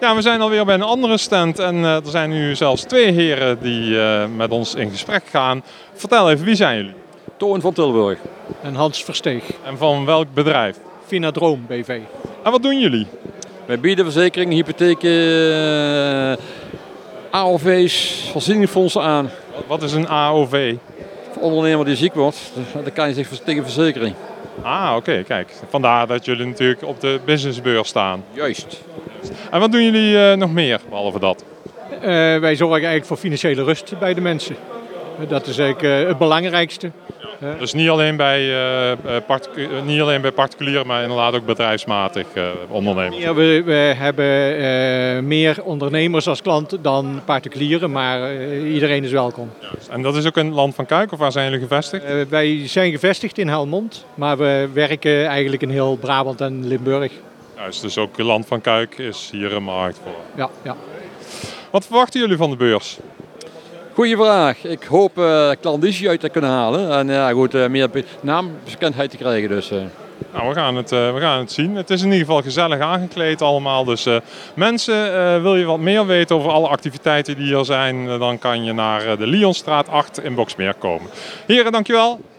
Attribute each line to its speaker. Speaker 1: Ja, we zijn alweer bij een andere stand en eh, er zijn nu zelfs twee heren die eh, met ons in gesprek gaan. Vertel even, wie zijn jullie?
Speaker 2: Toon van Tilburg.
Speaker 3: En Hans Versteeg,
Speaker 1: En van welk bedrijf?
Speaker 3: Vinadroom BV.
Speaker 1: En wat doen jullie?
Speaker 2: Wij bieden verzekeringen, hypotheken, eh, AOV's, voorzieningsfondsen aan.
Speaker 1: Wat is een AOV?
Speaker 2: Voor ondernemer die ziek wordt, dan kan je zich vers- tegen verzekering.
Speaker 1: Ah, oké, kijk. Vandaar dat jullie natuurlijk op de businessbeurs staan.
Speaker 2: Juist.
Speaker 1: En wat doen jullie eh, nog meer, behalve dat?
Speaker 3: Eh, wij zorgen eigenlijk voor financiële rust bij de mensen. Eh, Dat is eigenlijk eh, het belangrijkste.
Speaker 1: Dus niet alleen bij, eh, eh, particu- eh, niet alleen bij particulieren, maar inderdaad ook bedrijfsmatig eh, ondernemen.
Speaker 3: Ja, we, we hebben eh, meer ondernemers als klant dan particulieren, maar eh, iedereen is welkom.
Speaker 1: En dat is ook in het land van Kuik, of waar zijn jullie gevestigd?
Speaker 3: Eh, wij zijn gevestigd in Helmond, maar we werken eigenlijk in heel Brabant en Limburg.
Speaker 1: Juist, dus ook het land van Kuik is hier een markt voor.
Speaker 3: Ja, ja.
Speaker 1: Wat verwachten jullie van de beurs?
Speaker 2: Goeie vraag. Ik hoop eh klandizie uit te kunnen halen. En ja, goed, eh, meer be- naambekendheid te krijgen dus. eh.
Speaker 1: Nou, we gaan, het, eh, we gaan het zien. Het is in ieder geval gezellig aangekleed allemaal. Dus eh, mensen, eh, wil je wat meer weten over alle activiteiten die hier zijn, eh, dan kan je naar eh, de Lionstraat 8 in Boksmeer komen. Heren, dankjewel.